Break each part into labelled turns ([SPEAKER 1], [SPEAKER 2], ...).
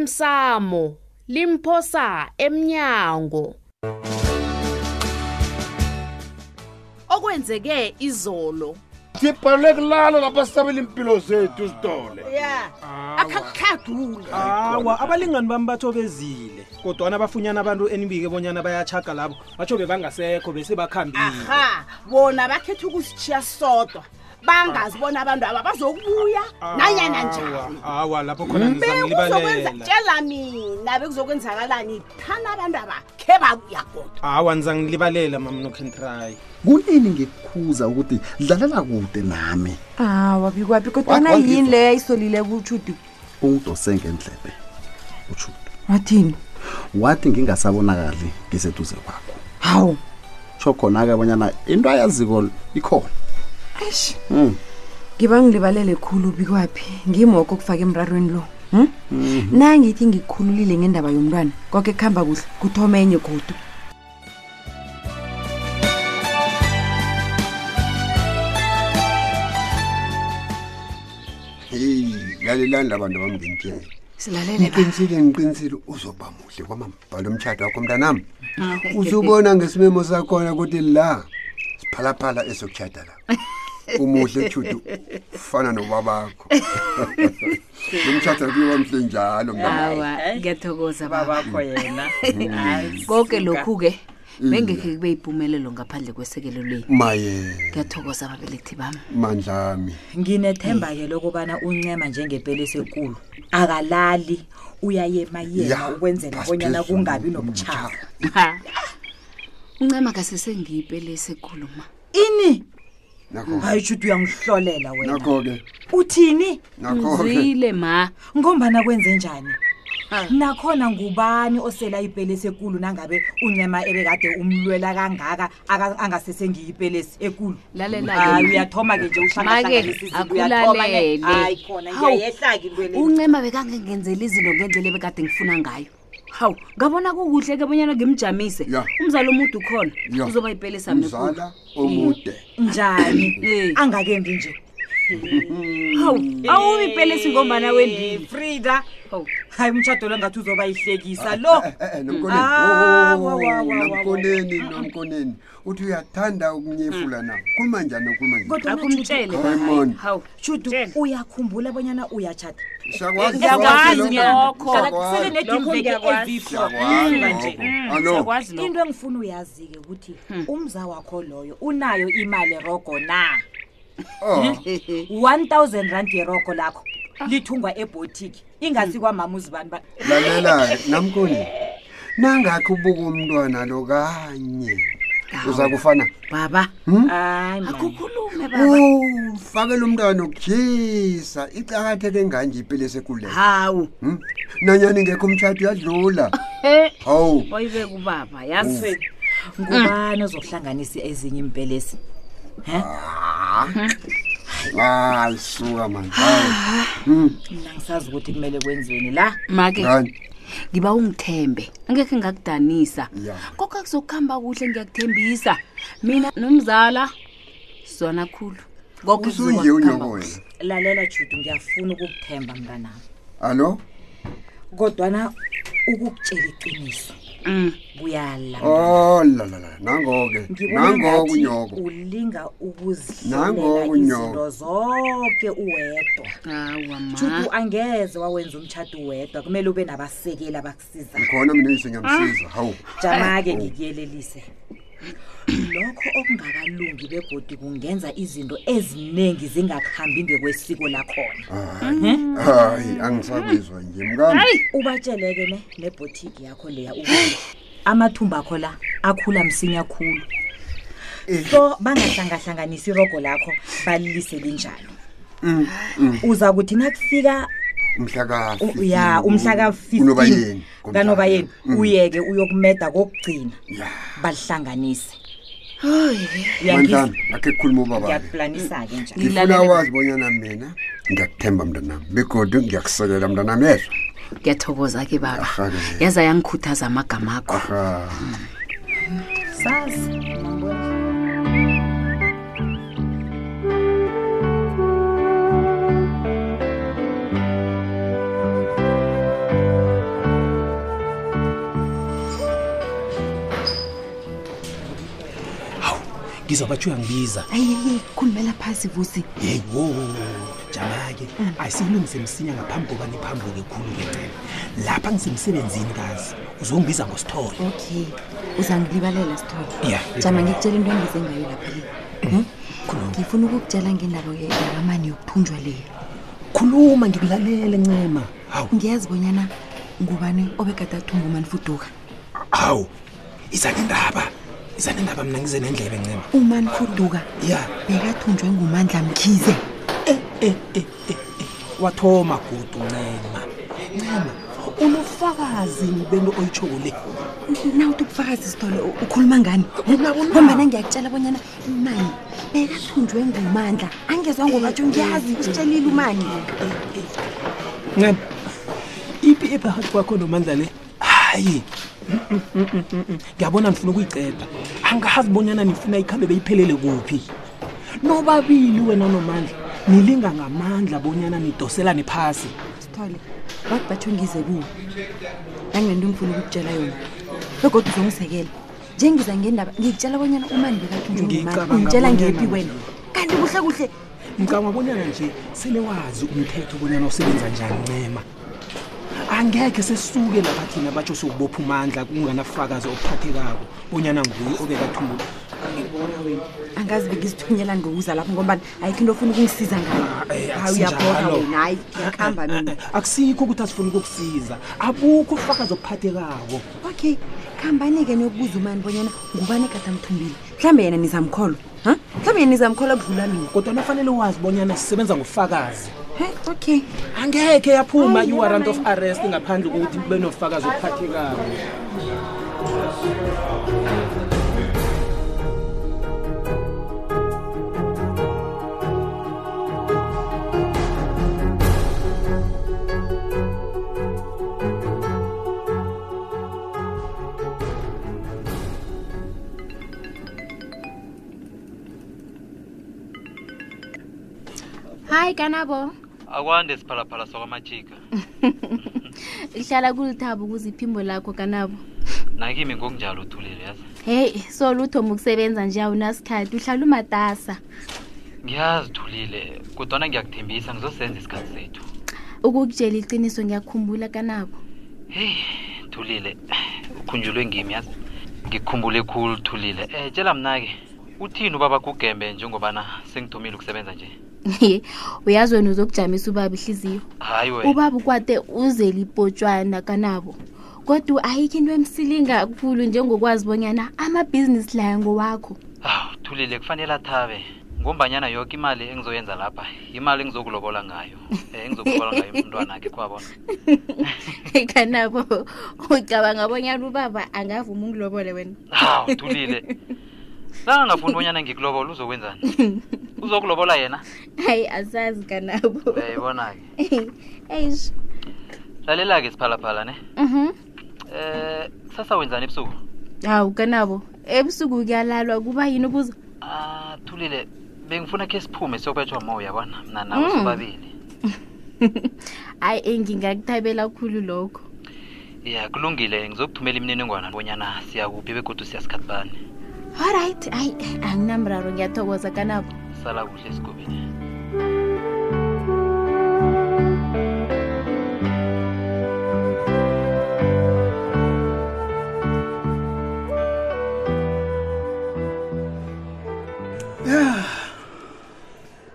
[SPEAKER 1] osemsamo limphosa emnyango okwenzeke izolo
[SPEAKER 2] sibaluleke kulala lapha sisabela impilo zethu sidole
[SPEAKER 3] ya akhakuhladula
[SPEAKER 4] awa abalingani bami batho bezile kodwana bafunyana abantu enibike bonyana bayachaga labo batsho bebangasekho bese bakhambile
[SPEAKER 3] aha bona bakhetha ukusitshiya sodwa bangazi bona abantu aba bazokubuya nanyana njani
[SPEAKER 4] awa lapho khona
[SPEAKER 3] bekuzokwenza
[SPEAKER 4] nizangilibalela
[SPEAKER 3] tshela mina bekuzokwenzakalani thana abantu aba khe babuya kodwa
[SPEAKER 4] awa nizangilibalela mam nokentrayi
[SPEAKER 5] kunini ngikukhuza ukuthi dlalela kude nami
[SPEAKER 6] awa bikwaphi kodwana
[SPEAKER 5] Wa- wa-
[SPEAKER 6] yini leyo ayisolile kutshuti
[SPEAKER 5] ungidose ngendlebe utshuti
[SPEAKER 6] wathini
[SPEAKER 5] wathi ngingasabonakali ngiseduze kwakho
[SPEAKER 6] hawu
[SPEAKER 5] tsho khona-ke abanyana into ayaziko ikhona
[SPEAKER 6] eish
[SPEAKER 5] Mm.
[SPEAKER 6] ngiba ngilibalele khulu bikwaphi ngimoko okufaka emrarweni lo hm?
[SPEAKER 5] mm.
[SPEAKER 6] nangithi ngikhululile ngendaba yomntwana koke kuhamba kuhle kuthoma enye godu
[SPEAKER 7] heyi lalelani labantu bamngentyela
[SPEAKER 6] silalele la
[SPEAKER 7] ngiqinisile ngiqinisile uzoba muhle kwamambhalo omtshato wakho mntanam usubona ngesimemo sakhona ukuthi la siphalaphala esokutshata la umuhle kutshudu ufana nobabakho lomtshato wakiwa mhle njalo mntanami.
[SPEAKER 6] ngiyathokoza
[SPEAKER 8] babakho yena Hayi,
[SPEAKER 6] konke
[SPEAKER 8] sika.
[SPEAKER 6] lokhu-ke bengekhe
[SPEAKER 7] Mm.
[SPEAKER 6] kube yimpumelelo ngaphandle kwesekelo leni
[SPEAKER 7] maye
[SPEAKER 6] ngiyathokoza ababelethi bami
[SPEAKER 7] mandlami
[SPEAKER 8] nginethemba-ke lokubana uncema njengepelisi ekulu akalali uyayemayema
[SPEAKER 7] Ya,
[SPEAKER 8] ukwenzela
[SPEAKER 7] phasi
[SPEAKER 8] bonyana
[SPEAKER 7] phezulu
[SPEAKER 8] kungabi
[SPEAKER 7] nomtshado.
[SPEAKER 8] nobuchaka
[SPEAKER 6] uncema kasesengiyipelesi ekhuluma
[SPEAKER 8] ini
[SPEAKER 7] nakho
[SPEAKER 8] hayi shuthi uyangihlolela wena
[SPEAKER 7] nakho-ke
[SPEAKER 8] uthini
[SPEAKER 7] nakho-ke
[SPEAKER 6] ma
[SPEAKER 8] ngombana kwenze njani nakhona ngubani osela ipelesi ekulu nangabe unyama ebekade umlwela kangaka aka- angasesengiyipelesi ekulu
[SPEAKER 6] Lalela-ke.
[SPEAKER 8] hayi uyathoma-ke nje uhlangahlanganisa izinto, uyathoma ne-
[SPEAKER 6] akulalele.
[SPEAKER 8] hayi khona
[SPEAKER 6] Hawu,
[SPEAKER 8] ngiyayehla-ke intweleni
[SPEAKER 6] uncema bekangengenzela izinto ngendlela ebekade ngifuna ngayo hawu ngabona kukuhle ke bonyana ngimjamise
[SPEAKER 7] Ya.
[SPEAKER 6] umzali omude ukhona
[SPEAKER 7] Ya.
[SPEAKER 6] uzoba yipelisami ekulu
[SPEAKER 7] mzala omude
[SPEAKER 8] njani
[SPEAKER 6] Eh.
[SPEAKER 8] angakembi nje
[SPEAKER 6] hawu awubi ipelisi ngombana
[SPEAKER 7] Eh.
[SPEAKER 6] wendile
[SPEAKER 8] frida
[SPEAKER 6] hawu
[SPEAKER 8] hayi umtshado lo ngathi uzoba yihlekisa lo
[SPEAKER 7] Eh, eh,
[SPEAKER 8] Ah, wa, wa, wa, wa,
[SPEAKER 7] nomkoneni
[SPEAKER 8] wa. Ah,
[SPEAKER 7] nomkoneni nomkoneni uthi uyathanda ukunyefula na khuluma njani okhuluma njani
[SPEAKER 8] Hmm. kodwa
[SPEAKER 6] akumtshele
[SPEAKER 7] Hayi, man.
[SPEAKER 6] hawu
[SPEAKER 8] shudu uyakhumbula bonyana uyatshata
[SPEAKER 7] Siyakwazi
[SPEAKER 1] Ngiyakwazi
[SPEAKER 7] lokho.
[SPEAKER 1] lokho.
[SPEAKER 7] Siyakwazi. Siyakwazi
[SPEAKER 8] seleneimveke
[SPEAKER 7] lokho. Alo.
[SPEAKER 8] Mm. into engifuna uyazi-ke ukuthi umza wakho loyo unayo imali rogo na
[SPEAKER 7] Oh,
[SPEAKER 8] 1000 rand yerogo lakho lithungwa ebotiki ingasikwamama uzibani ba
[SPEAKER 7] lalela namkoni. Nangakho ubuka umntwana lo kanye. Uza kufana. Hmm?
[SPEAKER 6] baba
[SPEAKER 8] hayi man.
[SPEAKER 6] akukhulume baba
[SPEAKER 7] Ufakela umntwana ukujisa icakatheke kanje ipilisi ekulela.
[SPEAKER 6] hawu
[SPEAKER 7] Hmm? Nanyani ngekho umtshado uyadlula. Hawu.
[SPEAKER 6] oyibe kubaba yazi
[SPEAKER 8] Swe, ngubani ozokuhlanganisa ezinye impelesi
[SPEAKER 7] Ah. Hayi suka Hmm. manje.
[SPEAKER 8] mina ngisazi ukuthi kumele kwenziweni la
[SPEAKER 6] make
[SPEAKER 7] Ngani?
[SPEAKER 6] ngiba ungithembe angekhe ngakudanisa
[SPEAKER 7] Ya.
[SPEAKER 6] koke kuzokuhamba kuhle ngiyakuthembisa mina nomzala sizwana khulu koke
[SPEAKER 7] Usunje unyoko wena.
[SPEAKER 8] lalela judu ngiyafuna ukukuthemba mntanami
[SPEAKER 7] Alo?
[SPEAKER 8] kodwana ukukutshela iqiniso
[SPEAKER 6] Mm.
[SPEAKER 8] kuyala
[SPEAKER 7] Oh la la la. Nangoke.
[SPEAKER 8] Ngibona
[SPEAKER 7] Nangoke
[SPEAKER 8] ngathi
[SPEAKER 7] unyoko.
[SPEAKER 8] ulinga
[SPEAKER 7] Nangoku
[SPEAKER 8] ukuzihlelela
[SPEAKER 7] unyoko.
[SPEAKER 8] izinto zonke uwedwa
[SPEAKER 6] awa
[SPEAKER 8] judu
[SPEAKER 6] ma
[SPEAKER 8] angeze wawenza umtshado uwedwa kumele ube nabasekeli abakusizayo Ah,
[SPEAKER 7] Ngikhona mina ngisengiyamsiza. Hawu.
[SPEAKER 8] jama-ke ngikuyelelise lokho okungakalungi begodi kungenza izinto eziningi zingakuhambi ngekwesiko lakhona Hmm?
[SPEAKER 7] hayi angisakuzwa nje mkambi
[SPEAKER 8] ubatshele-ke ne nebhotiki yakho leya ukuthi amathumba akho la akhula msinya khulu
[SPEAKER 7] Eh.
[SPEAKER 8] so bangahlangahlanganisi irogo lakho balilise linjalo
[SPEAKER 7] Mm,
[SPEAKER 8] uza kuthi nakufika u- ya um, umhla ka-15 kanobayeni uyeke uyokumeda kokugcina
[SPEAKER 7] Mm. Ya.
[SPEAKER 8] balihlanganise
[SPEAKER 7] mandlana akhe kukhuluma ubabake
[SPEAKER 8] ngiyakuplanisa-ke njalo
[SPEAKER 7] ngifuna wazi bonyana mina ngiyakuthemba mntanami begodu ngiyakusekela mntanami yezwa
[SPEAKER 6] ngiyathokoza ke baba
[SPEAKER 7] Arhake.
[SPEAKER 6] yaza yangikhuthaza amagama akho
[SPEAKER 7] ha
[SPEAKER 8] sazi
[SPEAKER 4] ngizwa batsho uyangibiza
[SPEAKER 6] ayiyeyi khulumela phasi vusi Mm.
[SPEAKER 4] yeyi wo jama-ke asiyini ngisemsinya ngaphambi koba niphambo kekhulu kencela lapha ngisemsebenzini kazi uzongibiza ngosithole
[SPEAKER 6] okay uzangilibalela sithole
[SPEAKER 4] Ya, ngiyakubona.
[SPEAKER 6] jama ngikutshela into engize ngayo lapha le Hmm? ngifuna ukukutshela ngendaba ye- yakamani yokuthunjwa leyo
[SPEAKER 4] khuluma ngikulalele ncema hawu
[SPEAKER 6] ngiyazi bonyana ngubani obekade athunga umanifuduka
[SPEAKER 4] hawu iza nendaba iza nendaba mna ngize nendlebe ncema
[SPEAKER 6] umanifuduka
[SPEAKER 4] ya
[SPEAKER 6] bekathunjwe ngumandla mkhize
[SPEAKER 4] wathoma gudu ncema ncema unofakazi bento oyitshoko le
[SPEAKER 6] nawuthi ubufakazi sithole u- ukhuluma ngani ngombana ngiyakutshela bonyana imani bekathunjwe ngumandla angezwa ngobatsho ngiyazi usitshelile umani
[SPEAKER 4] ncema ipi ephakathi kwakho nomandla le hayi Mm, mm, mm, mm, mm, mm. ngiyabona ngifuna ukuyiceda angazi bonyana nifuna ikhambe beyiphelele kuphi nobabili wena nomandla nilinga ngamandla bonyana nidoselane phasi
[SPEAKER 6] sithole wathi batsho ngize kuwo nanginento engifuna ukukutshela yona begodwa uzongisekela njengiza ngendaba ngikutshela bonyana umani bekathunjwe ngumandla
[SPEAKER 4] Ngicabanga
[SPEAKER 6] ungitshela
[SPEAKER 4] bonyana
[SPEAKER 6] ngephi
[SPEAKER 4] nje.
[SPEAKER 6] wena kanti kuhle kuhle
[SPEAKER 4] ngicabanga bonyana nje selewazi umthetho bonyana usebenza njani ncema angekhe sesisuke lapha thina batsho sokubopha umandla kunganafakazi obuphathekako bonyana nguye obekathumula
[SPEAKER 6] angazi bengizithunyela ngokuza lapho ngombani ayikho into ofuna ukungisiza ngayo hayi uyabhoda wena hayi ngiyakuhamba mina
[SPEAKER 4] Eh, akusikho ukuthi asifuna ukukusiza abukho ubufakazi obuphathekako
[SPEAKER 6] okay khambani-ke niyokubuza umani bonyana ngubani ekade amthumbile mhlawumbe yena nizamkholwa ha mhlawumbe yena nizamkholwa kudlula mina
[SPEAKER 4] kodwa nafanele wazi bonyana sisebenza ngofakazi
[SPEAKER 6] he okay
[SPEAKER 4] angekhe yaphuma
[SPEAKER 6] Hayi,
[SPEAKER 4] i-warrant of
[SPEAKER 6] yabona
[SPEAKER 4] arrest ngaphandle kokuthi benofakazi obuphathekako
[SPEAKER 9] hayi kanabo
[SPEAKER 10] akwande siphalaphala sakwamajika
[SPEAKER 9] hlala kulithaba ukuze iphimbo lakho kanabo
[SPEAKER 10] nakimi ngokunjalo uthulile yazi
[SPEAKER 9] heyi so luthoma ukusebenza nje awunasikhathi uhlala umatasa
[SPEAKER 10] ngiyazi thulile kodwana ngiyakuthembisa ngizosenza isikhathi sethu
[SPEAKER 9] ukukutshela iqiniso ngiyakhumbula kanabo
[SPEAKER 10] heyi thulile ukhunjulwe ngimi yazi ngikhumbule khulu thulile um tshela mna-ke uthini ubaba kugembe njengobana sengithomile ukusebenza nje
[SPEAKER 9] uyazi wena uzokujamisa ubaba ihliziyo
[SPEAKER 10] hayi wena
[SPEAKER 9] ubaba ukwade uzela ipotshwana kanabo kodwa ayikho into emsilinga kakhulu njengokwazi bonyana amabhizinisi layo ngowakho
[SPEAKER 10] aw thulile kufanele athabe ngombanyana yoke imali engizoyenza lapha imali engizokulobola ngayo um engizokulobola ngayo umntwana-ke khwabona
[SPEAKER 9] kanabo ucabanga bonyana ubaba angavuma ungilobole wena
[SPEAKER 10] hawu thulile nangangafuni bonyana ngikulobola uzokwenzani uzokulobola yena
[SPEAKER 9] hayi asazi kanabo
[SPEAKER 10] uyayibona-ke
[SPEAKER 9] eish
[SPEAKER 10] lalela-ke siphalaphala ne
[SPEAKER 9] mhm
[SPEAKER 10] eh kusasa wenzani ebusuku
[SPEAKER 9] hawu kanabo ebusuku kuyalalwa kuba yini ubuza
[SPEAKER 10] ah thulile bengifuna khe siphume siyokubetshwa moya bona mna nawe
[SPEAKER 9] Mm.
[SPEAKER 10] sobabili
[SPEAKER 9] hayi engingakuthabela khulu lokho
[SPEAKER 10] ya kulungile ngizokuthumela imininingwana bonyana siyakuphi begodu siyasikhathi bani
[SPEAKER 9] allright hayi anginamraro ngiyathokoza kanabo
[SPEAKER 10] sala kuhle esigubini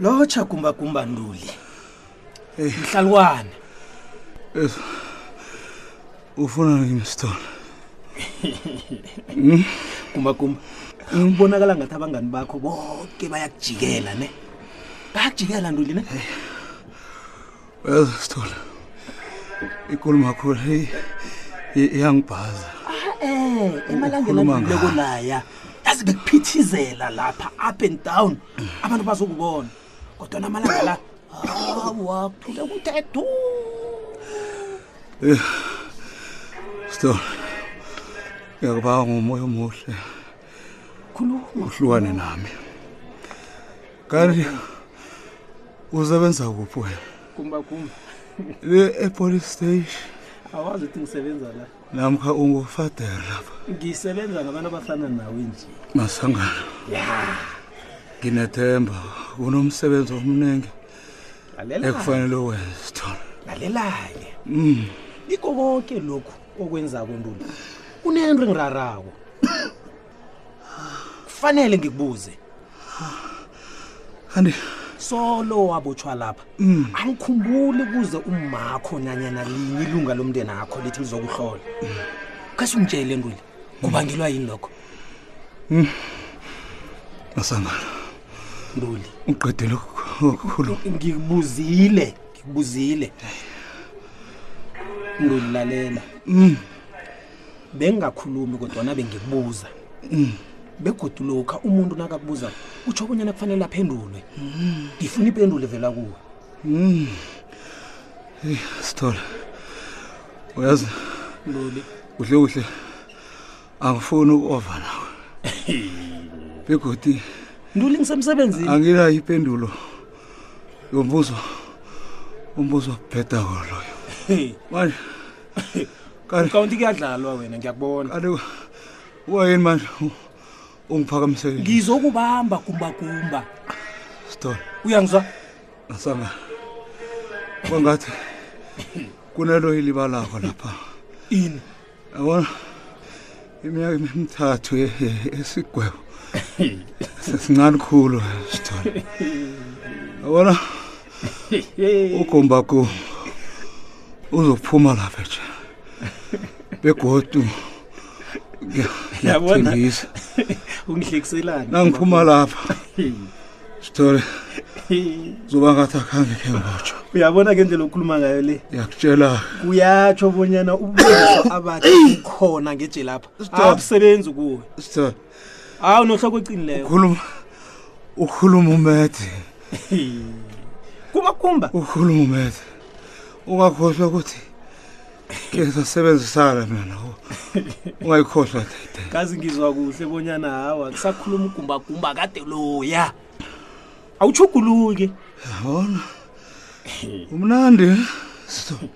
[SPEAKER 4] lotsha gumbagumba ntuli
[SPEAKER 6] Eh.
[SPEAKER 4] mhlalwane
[SPEAKER 2] ufuna kimi sithole
[SPEAKER 6] Hmm?
[SPEAKER 4] gumbagumba ngibonakala ngathi abangani bakho bonke bayakujikela ne bayakujikela ntuli ne
[SPEAKER 6] Eh.
[SPEAKER 2] uyazi sithole ikulumo kakhulu heyi i- iyangibhaza
[SPEAKER 4] um emalangeni
[SPEAKER 2] Ukhuluma
[SPEAKER 4] adluleko
[SPEAKER 2] ngani?
[SPEAKER 4] laya yazi bekuphithizela lapha up and down abantu bazokubona kodwa namalanga la hawa kuthule kuthe du
[SPEAKER 2] sithole ngiyakubawa ngomoya omuhle
[SPEAKER 4] khuluma
[SPEAKER 2] uhlukane nami kanti usebenza kuphi wena
[SPEAKER 4] gumbagumba
[SPEAKER 2] le epolice station
[SPEAKER 4] awazi ukuthi ngisebenza la
[SPEAKER 11] namkha ungufader lapha
[SPEAKER 4] ngisebenza ngabantu abafana nawe nje
[SPEAKER 11] masangana
[SPEAKER 4] ya
[SPEAKER 11] nginethemba kunomsebenzi omningi
[SPEAKER 4] lalela
[SPEAKER 11] ekufanele wenze sithole
[SPEAKER 4] lalelake
[SPEAKER 11] Mm.
[SPEAKER 4] iko konke lokhu okwenzako ntuli kunento engirarako kufanele ngikubuze
[SPEAKER 11] kanti
[SPEAKER 4] solo wabotshwa lapha angikhumbuli kuze umakho nanyana linye ilunga lomndeni akho lithi lizokuhlola kase ungitshele ntuli kubangelwa yini lokho
[SPEAKER 11] Mm. masangana
[SPEAKER 4] ntuli
[SPEAKER 11] uqedele ukukhulu
[SPEAKER 4] ngikubuzile ngikubuzile ngolalela bengakhulumi kodwana bengikubuza
[SPEAKER 11] Mm.
[SPEAKER 4] begodu lokha umuntu nakakubuza utsho kunyana kufanele aphendulwe
[SPEAKER 11] Mm.
[SPEAKER 4] ngifuna ipendulo evela kuwe
[SPEAKER 11] eyi sithole uyazi
[SPEAKER 4] Loli.
[SPEAKER 11] kuhle kuhle angifuni uku-ova nawe begodi
[SPEAKER 4] ntuli ngisemsebenzini
[SPEAKER 11] anginayo ipendulo yombuzo umbuzo obhedako loyo manje
[SPEAKER 4] kanti kuyadlalwa wena ngiyakubona
[SPEAKER 11] kanti wayeni manje u- ungiphakamisele
[SPEAKER 4] ngizokubamba gumbagumba
[SPEAKER 11] sithole
[SPEAKER 4] uyangizwa
[SPEAKER 11] asanga kwangathi kunelo ilibalako lapha
[SPEAKER 4] ini
[SPEAKER 11] yabona iminyaka emithathu e- e- esigwebo sesincane khulu sithole yabona ugombako uzophuma lapha nje begodu
[SPEAKER 4] Yabona?
[SPEAKER 11] ngiyathengisa
[SPEAKER 4] ungihlekiselani
[SPEAKER 11] nangiphuma lapha sithole zoba ngathi akhange khe ngotsho
[SPEAKER 4] uyabona ke ndlela okhuluma ngayo le
[SPEAKER 11] ngiyakutshela
[SPEAKER 4] kuyatsho bonyana ubuso abathi ukhona ngeje lapha
[SPEAKER 11] Stop.
[SPEAKER 4] abusebenzi kuwe
[SPEAKER 11] sithole
[SPEAKER 4] hawu nohloko ocinileyo
[SPEAKER 11] ukhuluma ukhuluma umede
[SPEAKER 4] kumakhumba
[SPEAKER 11] ukhuluma umede ungakhohlwa ukuthi ke sasebenzisana mina ungayikhohlwa tete
[SPEAKER 4] kazi ngizwa kuhle bonyana hawa kusakhuluma ugumbagumba kade loya awuchuguluke
[SPEAKER 11] yabona umnandi eh? sithole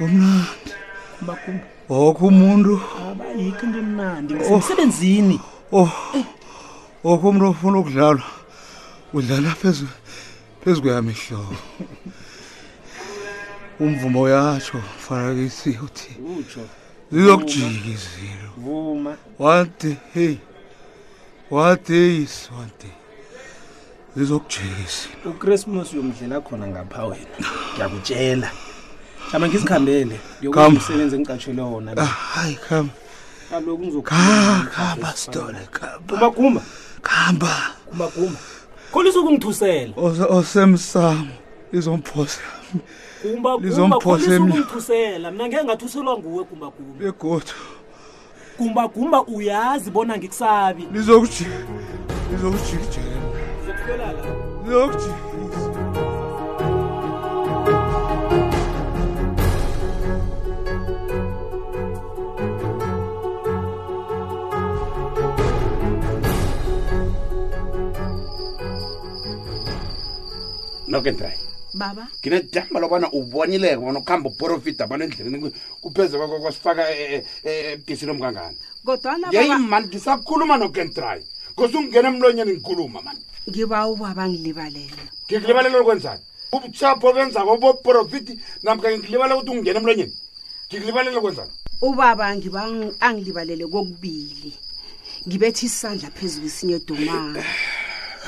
[SPEAKER 11] umnandi
[SPEAKER 4] gumbagumba
[SPEAKER 11] woke umuntu
[SPEAKER 4] abayikho into emnandi
[SPEAKER 11] Oh.
[SPEAKER 4] ngisemsebenzini
[SPEAKER 11] oh woke umuntu ofuna ukudlalwa udlala phezu phezu kweyami ihloko umvumo uyatsho mfanakisi uthi
[SPEAKER 4] utsho
[SPEAKER 11] zizokujika izinto
[SPEAKER 4] vuma
[SPEAKER 11] one day hey one day is one day zizokujika izinto
[SPEAKER 4] uchristmas uyomdlela khona ngapha wena ngiyakutshela jama ngizikhambele
[SPEAKER 11] Khamba.
[SPEAKER 4] yokumsebenzi engicatshelwe wona
[SPEAKER 11] Ah, hayi khamba
[SPEAKER 4] kaloku
[SPEAKER 11] Kha- khamba sitole khamba
[SPEAKER 4] kumbagumba
[SPEAKER 11] khamba
[SPEAKER 4] kumbagumba kholisa ukungithusela
[SPEAKER 11] Ose- osemsamo izomphose
[SPEAKER 4] kumbagumba
[SPEAKER 11] Lizomphosa
[SPEAKER 4] kholisa
[SPEAKER 11] emnyango.
[SPEAKER 4] ukungithuselwa mina ngeke ngathuselwa nguwe gumbagumba
[SPEAKER 11] begodu
[SPEAKER 4] gumbagumba uyazi bona ngikusabi
[SPEAKER 11] lizokujika lizokujikijela lizokujika
[SPEAKER 2] nokendayi
[SPEAKER 6] baba
[SPEAKER 2] nginedamba lobana ubonileke bona ukuhamba uprofita bona endleleni kupheze kwasifaka eh, ebudisini omkangani
[SPEAKER 6] kodwana
[SPEAKER 2] yeyi mani ngisakhuluma nokentrayi kose ungena emlonyeni ngikhuluma mani
[SPEAKER 6] ngiba ubaba ngilibalele
[SPEAKER 2] ngikulibalela lokwenzani ubuchapho obenzako boprofiti namka ngikulibalela ukuthi ungena emlonyeni ngikulibalela kwenzani
[SPEAKER 6] ubaba ngiba angilibalele kokubili ngibethi isandla phezu kwesinye duma
[SPEAKER 2] Eh,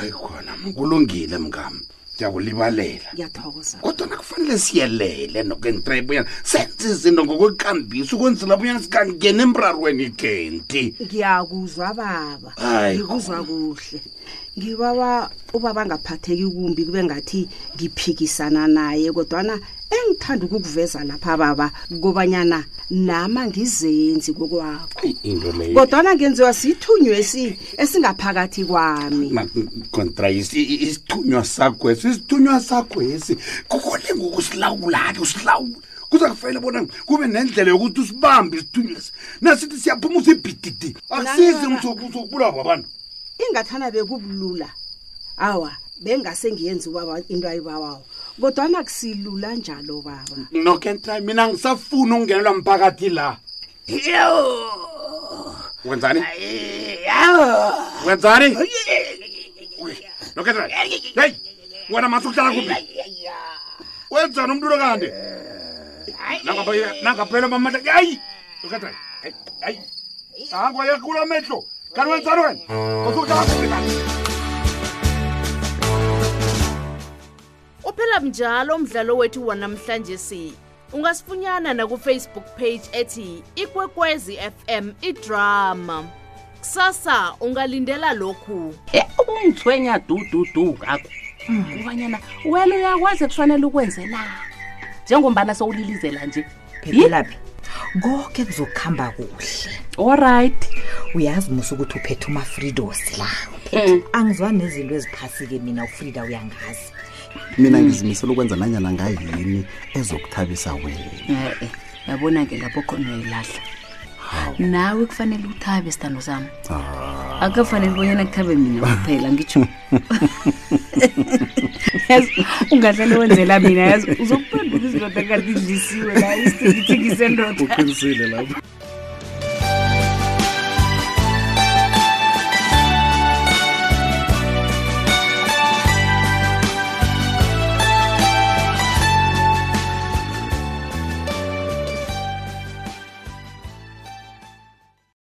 [SPEAKER 2] hayi khona kulungile mngam ndiyakulibalela
[SPEAKER 6] ngiyathokoza
[SPEAKER 2] kodwa nakufanele siyelele nokentrayi buyana senze izinto ngokwekambisa ukwenzela buyana sikangena emrarweni kenti
[SPEAKER 6] ngiyakuzwa baba
[SPEAKER 2] Hayi,
[SPEAKER 6] ngikuzwa kuhle ngibawa ubaba ngaphatheki kumbi kube ngathi ngiphikisana naye kodwana engithanda ukukuveza lapha baba kobanyana nama ngizenzi kokwakho
[SPEAKER 2] into leyo
[SPEAKER 6] kodwana ngenziwa sithunywesi esingaphakathi kwami
[SPEAKER 2] contrayisi isithunywa sakho esi isithunywa sakho esi kukole ngokusilawula-ke usilawula kuza kufanele bona kube nendlela yokuthi usibambe isithunywa esi nasithi siyaphuma usibhididi akusizi msokubulawa kwabantu
[SPEAKER 6] ingathana bekubulula awa bengase ngiyenza ubaba into ayibawawo kodwana kusilula njalo baba
[SPEAKER 2] nokentry mina ngisafuna ukungenelwa mphakathi la
[SPEAKER 12] yo
[SPEAKER 2] wenzani
[SPEAKER 12] yawo
[SPEAKER 2] wenzani nokentry heyi wena masi ukuhlala kuphi wenzani umntu lo kanti nangaphela mamandla hayi nokentry hayi angwayakhula amehlo kanti wenzani wena osukuhlala kuphi kanti
[SPEAKER 1] uphela mnjalo umdlalo wethu wanamhlanje si ungasifunyana nakufacebook page ethi ikwekwezi fm idrama kusasa ungalindela lokhu
[SPEAKER 13] ungithwenya dududu kakho kubanyana Hmm, wena uyakwazi kufanele ukwenzela njengombana sowulilizela nje
[SPEAKER 8] phelaphi konke kuzokuhamba kuhle olright uyazi musa ukuthi uphethe umafridos la
[SPEAKER 13] Hmm.
[SPEAKER 8] uphethe angizwani nezinto eziphasi-ke mina ufrida uyangazi
[SPEAKER 5] mina ngizimisela ukwenza nanyana ngayini ezokuthabisa wena
[SPEAKER 13] e-e yabona-ke lapho khona uyayilahla nawe kufanele uthabe sithando sami
[SPEAKER 5] Ah.
[SPEAKER 13] akukafanele bonyana kuthabe mina kuphela ngitsho yazi ungahlale wenzela mina yazi uzokuphenduka izindoda kanti idlisiwe la isithekithikisendoda
[SPEAKER 5] uqinisile lapho